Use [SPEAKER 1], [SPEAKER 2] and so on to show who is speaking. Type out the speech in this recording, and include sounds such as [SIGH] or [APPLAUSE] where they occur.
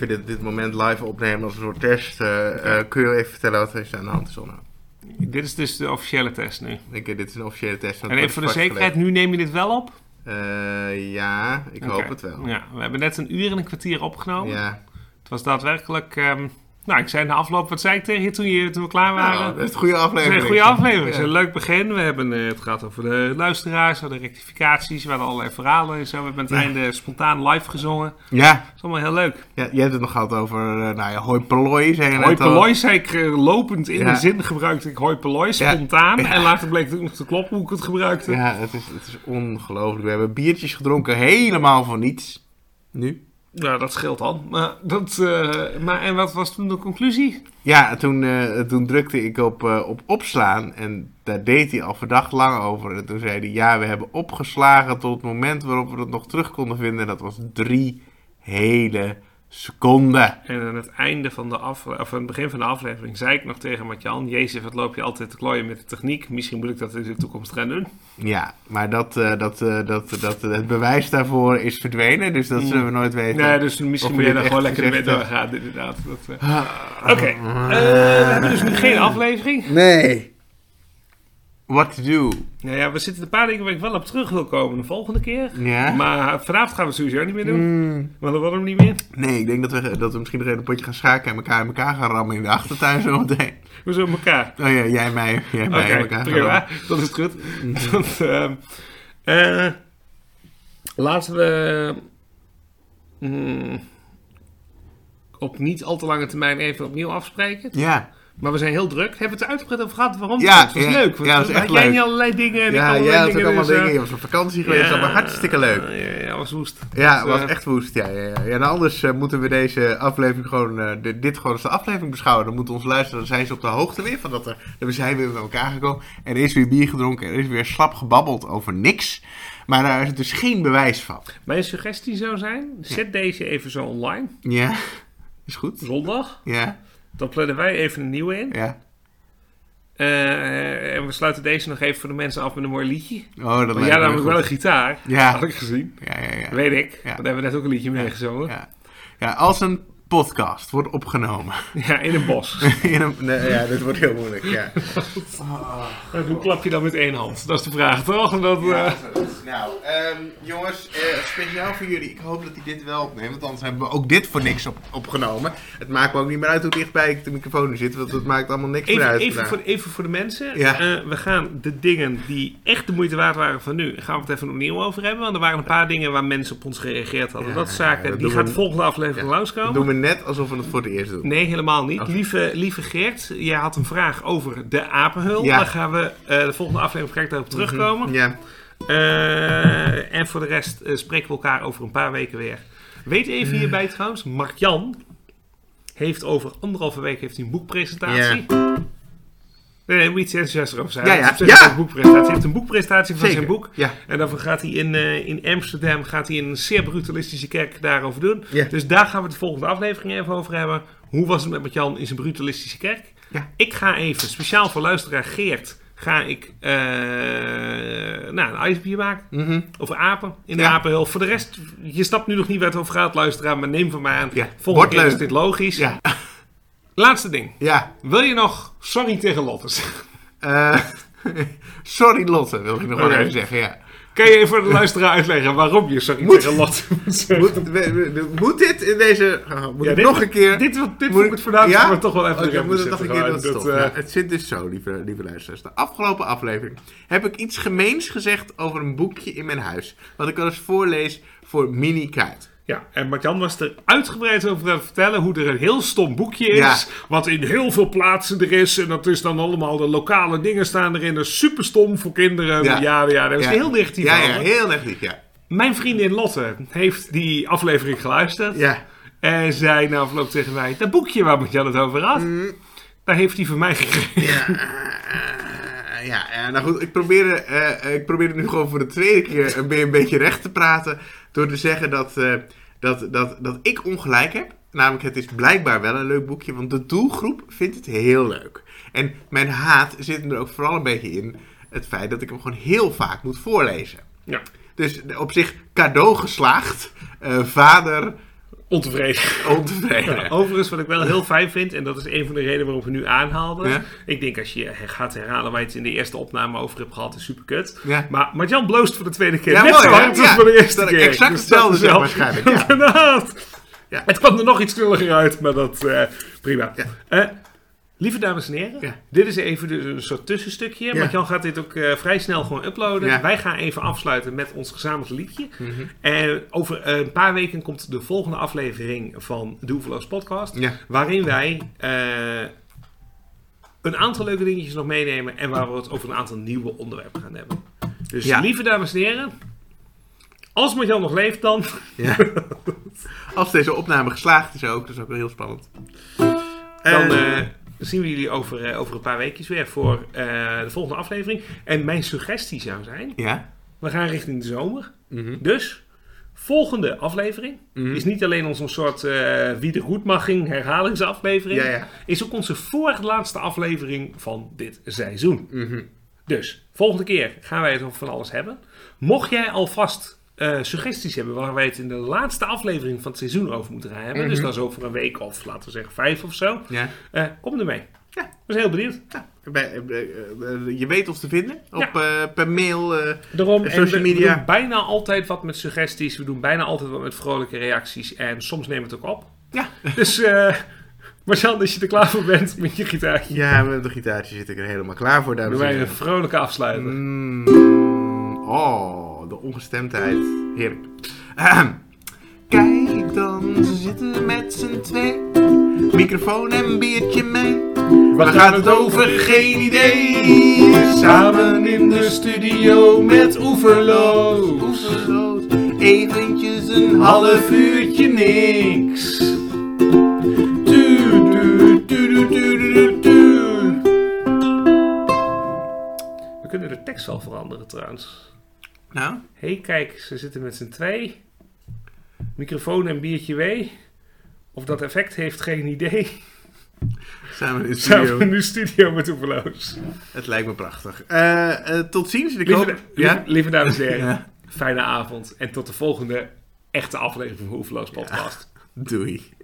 [SPEAKER 1] kun je dit, dit moment live opnemen als een soort test. eh, eh, kun je even vertellen wat er is aan de hand is, Onno?
[SPEAKER 2] Dit is dus de officiële test nu.
[SPEAKER 1] Ik, eh, dit is een officiële test. want het
[SPEAKER 2] En even voor de
[SPEAKER 1] wordt vastgelegd.
[SPEAKER 2] zekerheid, nu neem je dit wel op?
[SPEAKER 1] Eh, ja, ik
[SPEAKER 2] Oké.
[SPEAKER 1] hoop het wel.
[SPEAKER 2] Ja, we hebben net een uur en een kwartier opgenomen.
[SPEAKER 1] Ja.
[SPEAKER 2] Het was daadwerkelijk... ehm, nou, ik zei na afloop, wat zei ik tegen je toen, je, toen we klaar waren?
[SPEAKER 1] Nou, dat is een goede
[SPEAKER 2] Het is
[SPEAKER 1] aflevering.
[SPEAKER 2] een goede aflevering. Het is
[SPEAKER 1] Ja.
[SPEAKER 2] een leuk begin. We hebben eh, het gehad over de luisteraars, we hadden rectificaties, we hadden allerlei verhalen en zo. We hebben aan het einde spontaan live gezongen. Dat
[SPEAKER 1] Ja,
[SPEAKER 2] is allemaal heel leuk.
[SPEAKER 1] ja, je hebt het nog gehad over, eh, nou ja, hoi Pelooi. zei je
[SPEAKER 2] Hoi
[SPEAKER 1] net al.
[SPEAKER 2] Peloy zei ik eh, lopend in
[SPEAKER 1] Ja.
[SPEAKER 2] de zin gebruikte ik hoi Peloy
[SPEAKER 1] Ja.
[SPEAKER 2] spontaan.
[SPEAKER 1] Ja.
[SPEAKER 2] En later bleek het ook nog te kloppen hoe ik het gebruikte.
[SPEAKER 1] Ja, het is, het is ongelooflijk. We hebben biertjes gedronken, helemaal voor niets. Nu?
[SPEAKER 2] Nou, dat scheelt dan. Maar, dat, eh, maar en wat was toen de conclusie?
[SPEAKER 1] Ja, toen, eh, toen drukte ik op, eh, op opslaan en daar deed hij al verdacht lang over. En toen zei hij, ja, we hebben opgeslagen tot het moment waarop we dat nog terug konden vinden. Dat was drie hele seconden.
[SPEAKER 2] En aan het einde van de af, of aan het begin van de aflevering zei ik nog tegen Matjan: Jezus, wat loop je altijd te klooien met de techniek? Misschien moet ik dat in de toekomst gaan doen.
[SPEAKER 1] Ja, maar dat, eh, dat, eh, dat, dat, het bewijs daarvoor is verdwenen, dus dat zullen we nooit weten.
[SPEAKER 2] Hmm. Nee, dus misschien
[SPEAKER 1] Of
[SPEAKER 2] moet
[SPEAKER 1] je
[SPEAKER 2] je daar
[SPEAKER 1] het
[SPEAKER 2] gewoon
[SPEAKER 1] echt
[SPEAKER 2] lekker mee
[SPEAKER 1] gezegd hebt.
[SPEAKER 2] doorgaan, inderdaad. Dat, eh. Oké, eh, we hebben dus nu
[SPEAKER 1] [LAUGHS]
[SPEAKER 2] geen aflevering.
[SPEAKER 1] Nee. What to do?
[SPEAKER 2] Nou ja, we zitten een paar dingen waar ik wel op terug wil komen de volgende keer.
[SPEAKER 1] Ja?
[SPEAKER 2] Maar vanavond gaan we het sowieso niet meer doen. Want dan worden we niet meer.
[SPEAKER 1] Nee, ik denk dat we, dat we misschien nog even een potje gaan schaken en elkaar in elkaar gaan rammen in de achtertuin zometeen.
[SPEAKER 2] We zullen elkaar.
[SPEAKER 1] Oh ja, jij mij, jij mij in
[SPEAKER 2] Oké,
[SPEAKER 1] elkaar Mhm. gaan
[SPEAKER 2] prima.
[SPEAKER 1] rammen.
[SPEAKER 2] [LAUGHS] Dat is goed. Want, ehm, eh, laten we mm, op niet al te lange termijn even opnieuw afspreken.
[SPEAKER 1] Ja.
[SPEAKER 2] Maar we zijn heel druk. Hebben we het er uitgebreid over gehad? Waarom?
[SPEAKER 1] Ja,
[SPEAKER 2] dat was
[SPEAKER 1] ja.
[SPEAKER 2] leuk. Want
[SPEAKER 1] Ja, dat is
[SPEAKER 2] had
[SPEAKER 1] echt
[SPEAKER 2] jij
[SPEAKER 1] leuk.
[SPEAKER 2] niet allerlei dingen. en ik
[SPEAKER 1] Ja,
[SPEAKER 2] allerlei
[SPEAKER 1] jij had ook allemaal
[SPEAKER 2] dus, eh,
[SPEAKER 1] dingen. Je was op vakantie geweest, allemaal hartstikke leuk.
[SPEAKER 2] Ja, ja, was woest.
[SPEAKER 1] Ja,
[SPEAKER 2] Dus,
[SPEAKER 1] was
[SPEAKER 2] eh,
[SPEAKER 1] echt woest. Ja, ja, ja. ja en anders eh, moeten we deze aflevering gewoon, eh, dit, dit gewoon als de aflevering beschouwen. Dan moeten onze luisteraars, dan zijn ze op de hoogte weer van dat er, we zijn weer bij elkaar gekomen. Er is weer bier gedronken, er is weer slap gebabbeld over niks. Maar daar is dus geen bewijs van.
[SPEAKER 2] Mijn suggestie zou zijn: zet deze even zo online.
[SPEAKER 1] Ja, is goed.
[SPEAKER 2] Zondag.
[SPEAKER 1] Ja,
[SPEAKER 2] Dan plannen wij even een nieuwe in.
[SPEAKER 1] ja.
[SPEAKER 2] Eh, en we sluiten deze nog even voor de mensen af met een mooi liedje.
[SPEAKER 1] Oh, dat
[SPEAKER 2] Maar jij
[SPEAKER 1] lijkt me
[SPEAKER 2] namelijk wel
[SPEAKER 1] goed.
[SPEAKER 2] een gitaar.
[SPEAKER 1] Ja.
[SPEAKER 2] Had ik gezien.
[SPEAKER 1] Ja, ja, ja.
[SPEAKER 2] Weet ik.
[SPEAKER 1] Ja.
[SPEAKER 2] want Daar hebben we net ook een liedje mee gezongen. Ja.
[SPEAKER 1] Ja. ja, als een podcast wordt opgenomen.
[SPEAKER 2] in een [LAUGHS] bos.
[SPEAKER 1] [LAUGHS] In een, nee, ja, dit wordt heel moeilijk. Ja.
[SPEAKER 2] Nou, Hoe klap je dan met één hand? Dat is de vraag, toch? Dat, eh,
[SPEAKER 1] [LAUGHS] Ja, zo is het. nou, ehm, jongens, eh, speciaal voor jullie. Ik hoop dat hij dit wel opneemt, want anders hebben we ook dit voor niks op, opgenomen. Het maakt me ook niet meer uit hoe dichtbij ik de microfoon nu zit, want het maakt allemaal niks meer
[SPEAKER 2] even,
[SPEAKER 1] uit. Nou,
[SPEAKER 2] even,
[SPEAKER 1] vandaag.
[SPEAKER 2] voor, even voor de mensen.
[SPEAKER 1] Ja.
[SPEAKER 2] Eh, we gaan de dingen die echt de moeite waard waren van nu, gaan we het even opnieuw over hebben. Want er waren een paar dingen waar mensen op ons gereageerd hadden.
[SPEAKER 1] Ja,
[SPEAKER 2] dat zaken,
[SPEAKER 1] ja, dat
[SPEAKER 2] die
[SPEAKER 1] doen
[SPEAKER 2] gaat
[SPEAKER 1] we-
[SPEAKER 2] de volgende aflevering
[SPEAKER 1] Ja,
[SPEAKER 2] langskomen.
[SPEAKER 1] Dat doen we net alsof we het voor het eerst doen.
[SPEAKER 2] Nee, helemaal niet.
[SPEAKER 1] Oh.
[SPEAKER 2] Lieve, lieve Geert, jij had een vraag over de apenhul.
[SPEAKER 1] Ja.
[SPEAKER 2] Daar gaan we eh, de volgende aflevering ga ik daarop terugkomen.
[SPEAKER 1] Ja,
[SPEAKER 2] Eh, en voor de rest eh, spreken we elkaar over een paar weken weer. Weet even hierbij trouwens, Mark-Jan heeft over anderhalve week heeft hij een boekpresentatie. Nee, nee, moet iets enthousiaster over zijn.
[SPEAKER 1] Ja,
[SPEAKER 2] Hij
[SPEAKER 1] ja.
[SPEAKER 2] heeft een
[SPEAKER 1] Ja!
[SPEAKER 2] boekpresentatie. Hij heeft een boekpresentatie van
[SPEAKER 1] zeker.
[SPEAKER 2] zijn boek.
[SPEAKER 1] Ja.
[SPEAKER 2] En daarvoor gaat hij in, eh, in Amsterdam gaat hij in een zeer brutalistische kerk daarover doen.
[SPEAKER 1] Ja.
[SPEAKER 2] Dus daar gaan we de volgende aflevering even over hebben. Hoe was het met Mark-Jan in zijn brutalistische kerk?
[SPEAKER 1] Ja.
[SPEAKER 2] Ik ga even, speciaal voor luisteraar Geert, ga ik eh, nou, een ijsbier maken.
[SPEAKER 1] Mhm.
[SPEAKER 2] Over apen, in de
[SPEAKER 1] Ja.
[SPEAKER 2] apenhul. Voor de rest, je snapt nu nog niet waar het over gaat, luisteraar, maar neem van mij aan.
[SPEAKER 1] Ja.
[SPEAKER 2] Volgende
[SPEAKER 1] Wordt
[SPEAKER 2] keer
[SPEAKER 1] leuk.
[SPEAKER 2] is dit logisch.
[SPEAKER 1] ja,
[SPEAKER 2] [LAUGHS] Laatste ding.
[SPEAKER 1] ja.
[SPEAKER 2] Wil je nog sorry tegen Lotte zeggen?
[SPEAKER 1] Eh, [LAUGHS] sorry Lotte, wil ik nog wel
[SPEAKER 2] Oké.
[SPEAKER 1] even zeggen. Ja.
[SPEAKER 2] [LAUGHS] Kan je even voor de luisteraar uitleggen waarom je sorry
[SPEAKER 1] Moet-
[SPEAKER 2] tegen Lotte moet zeggen?
[SPEAKER 1] Moet, we- we- moet dit in deze... ah, moet
[SPEAKER 2] Ja,
[SPEAKER 1] ik
[SPEAKER 2] dit-
[SPEAKER 1] nog een keer...
[SPEAKER 2] Dit, dit, dit
[SPEAKER 1] Moet
[SPEAKER 2] vond ik
[SPEAKER 1] ik-
[SPEAKER 2] het voornaamste,
[SPEAKER 1] Ja?
[SPEAKER 2] maar toch wel even
[SPEAKER 1] Oké,
[SPEAKER 2] erin
[SPEAKER 1] we moeten
[SPEAKER 2] moeten
[SPEAKER 1] nog een keer
[SPEAKER 2] zetten
[SPEAKER 1] doen.
[SPEAKER 2] gewoon.
[SPEAKER 1] Stop.
[SPEAKER 2] Dat,
[SPEAKER 1] Nou,
[SPEAKER 2] eh,
[SPEAKER 1] het zit dus zo, lieve, lieve luisteraars. De afgelopen aflevering heb ik iets gemeens gezegd over een boekje in mijn huis. Wat ik wel eens voorlees voor Mini Kite.
[SPEAKER 2] eh, Ja, en Marjan was er uitgebreid over aan het vertellen hoe er een heel stom boekje is.
[SPEAKER 1] Ja.
[SPEAKER 2] Wat in heel veel plaatsen er is. En dat is dan allemaal de lokale dingen staan erin. Dat is super stom voor kinderen. Ja,
[SPEAKER 1] Ja.
[SPEAKER 2] ja, Daar was
[SPEAKER 1] Ja.
[SPEAKER 2] hij heel negatief
[SPEAKER 1] Ja, ja,
[SPEAKER 2] over.
[SPEAKER 1] heel negatief, ja.
[SPEAKER 2] Mijn vriendin Lotte heeft die aflevering geluisterd.
[SPEAKER 1] Ja,
[SPEAKER 2] En zei na afloop tegen mij: Dat boekje waar Marjan het over had,
[SPEAKER 1] Mm.
[SPEAKER 2] daar heeft hij van mij gekregen.
[SPEAKER 1] ja, eh, ja, eh, nou goed. Ik probeerde, eh, ik probeerde nu gewoon voor de tweede keer een, be- een beetje recht te praten. Door te zeggen dat, eh, dat, dat, dat ik ongelijk heb. Namelijk, het is blijkbaar wel een leuk boekje, want de doelgroep vindt het heel leuk. En mijn haat zit hem er ook vooral een beetje in het feit dat ik hem gewoon heel vaak moet voorlezen.
[SPEAKER 2] Ja.
[SPEAKER 1] Dus op zich cadeau geslaagd. Eh, vader
[SPEAKER 2] ontevreden.
[SPEAKER 1] Ontevreden.
[SPEAKER 2] Ja, [LAUGHS] overigens, wat ik wel heel fijn vind, en dat is een van de redenen waarom we nu aanhaalden.
[SPEAKER 1] Ja.
[SPEAKER 2] Ik denk als je gaat herhalen waar je het in de eerste opname over hebt gehad, is super kut.
[SPEAKER 1] Ja.
[SPEAKER 2] Maar Marjan bloost voor de tweede keer.
[SPEAKER 1] Ja,
[SPEAKER 2] net
[SPEAKER 1] mooi,
[SPEAKER 2] zo
[SPEAKER 1] hè?
[SPEAKER 2] hard als
[SPEAKER 1] Ja,
[SPEAKER 2] voor de eerste
[SPEAKER 1] dat ik
[SPEAKER 2] keer. Dus
[SPEAKER 1] exact hetzelfde zeg waarschijnlijk, ja.
[SPEAKER 2] Inderdaad.
[SPEAKER 1] Ja.
[SPEAKER 2] Het kwam er nog iets knulliger uit, maar dat eh, prima.
[SPEAKER 1] Ja.
[SPEAKER 2] Eh, lieve dames en heren,
[SPEAKER 1] Ja.
[SPEAKER 2] dit is even dus een soort tussenstukje.
[SPEAKER 1] Ja.
[SPEAKER 2] Marjan gaat dit ook eh, vrij snel gewoon uploaden.
[SPEAKER 1] Ja.
[SPEAKER 2] Wij gaan even afsluiten met ons gezamenlijk liedje.
[SPEAKER 1] Mhm.
[SPEAKER 2] En over eh, een paar weken komt de volgende aflevering van de Oeverloos Podcast.
[SPEAKER 1] Ja.
[SPEAKER 2] Waarin wij eh, een aantal leuke dingetjes nog meenemen. En waar we het over een aantal nieuwe onderwerpen gaan hebben. Dus
[SPEAKER 1] Ja.
[SPEAKER 2] lieve dames en heren. Als Marjan nog leeft dan.
[SPEAKER 1] Ja. Als deze opname geslaagd is ook, dat is ook wel heel spannend.
[SPEAKER 2] Dan
[SPEAKER 1] Eh,
[SPEAKER 2] eh, zien we jullie over, eh, over een paar weekjes weer voor eh, de volgende aflevering. En mijn suggestie zou zijn.
[SPEAKER 1] Ja.
[SPEAKER 2] We gaan richting de zomer. Dus, volgende aflevering
[SPEAKER 1] Mhm.
[SPEAKER 2] is niet alleen onze soort eh, wie de goed mag ging herhalingsaflevering.
[SPEAKER 1] Ja, ja.
[SPEAKER 2] Is ook onze voorlaatste aflevering van dit seizoen.
[SPEAKER 1] Mhm.
[SPEAKER 2] Dus, volgende keer gaan wij het over van alles hebben. Mocht jij alvast eh, suggesties hebben waar wij het in de laatste aflevering van het seizoen over moeten gaan hebben.
[SPEAKER 1] Mhm.
[SPEAKER 2] Dus dat is over een week of laten we zeggen vijf of zo.
[SPEAKER 1] Ja.
[SPEAKER 2] eh, kom ermee.
[SPEAKER 1] Ja.
[SPEAKER 2] We zijn heel benieuwd.
[SPEAKER 1] Bij- eh, eh, eh, je weet ons te vinden op, eh, per mail. eh,
[SPEAKER 2] Daarom,
[SPEAKER 1] En
[SPEAKER 2] en we-
[SPEAKER 1] social
[SPEAKER 2] We,
[SPEAKER 1] media.
[SPEAKER 2] doen bijna altijd wat met suggesties. We doen bijna altijd wat met vrolijke reacties. En soms nemen we het ook op.
[SPEAKER 1] Ja.
[SPEAKER 2] Dus eh [LAUGHS] Marcel, als je er klaar voor bent met je gitaartje,
[SPEAKER 1] ja, met de gitaartje zit ik er helemaal klaar voor, dames
[SPEAKER 2] doen
[SPEAKER 1] en
[SPEAKER 2] wij
[SPEAKER 1] heren.
[SPEAKER 2] een vrolijke afsluiter.
[SPEAKER 1] Mm, oh, de ongestemdheid. Heerlijk. Ahem. Kijk dan, ze zitten met z'n twee. Microfoon en biertje mee. Waar gaat het over? Geen idee. Samen in de studio met Oeverloos. Oeverloos. Eventjes een half uurtje niks. Tuur, tuur, tuur, tuur, tuur, tuur, tuur.
[SPEAKER 2] We kunnen de tekst wel veranderen trouwens.
[SPEAKER 1] Nou,
[SPEAKER 2] Hé, hey, kijk, ze zitten met z'n twee. Microfoon en biertje W. Of dat effect heeft geen idee. [LAUGHS]
[SPEAKER 1] samen in de
[SPEAKER 2] Samen
[SPEAKER 1] studio.
[SPEAKER 2] in de studio met Oeverloos.
[SPEAKER 1] Het lijkt me prachtig. Eh, eh, tot ziens. Ik
[SPEAKER 2] Lieve,
[SPEAKER 1] hoop...
[SPEAKER 2] lieve-
[SPEAKER 1] Ja?
[SPEAKER 2] lieve dames en heren,
[SPEAKER 1] Ja.
[SPEAKER 2] fijne avond. En tot de volgende echte aflevering van Hoeverloos Podcast.
[SPEAKER 1] Doei.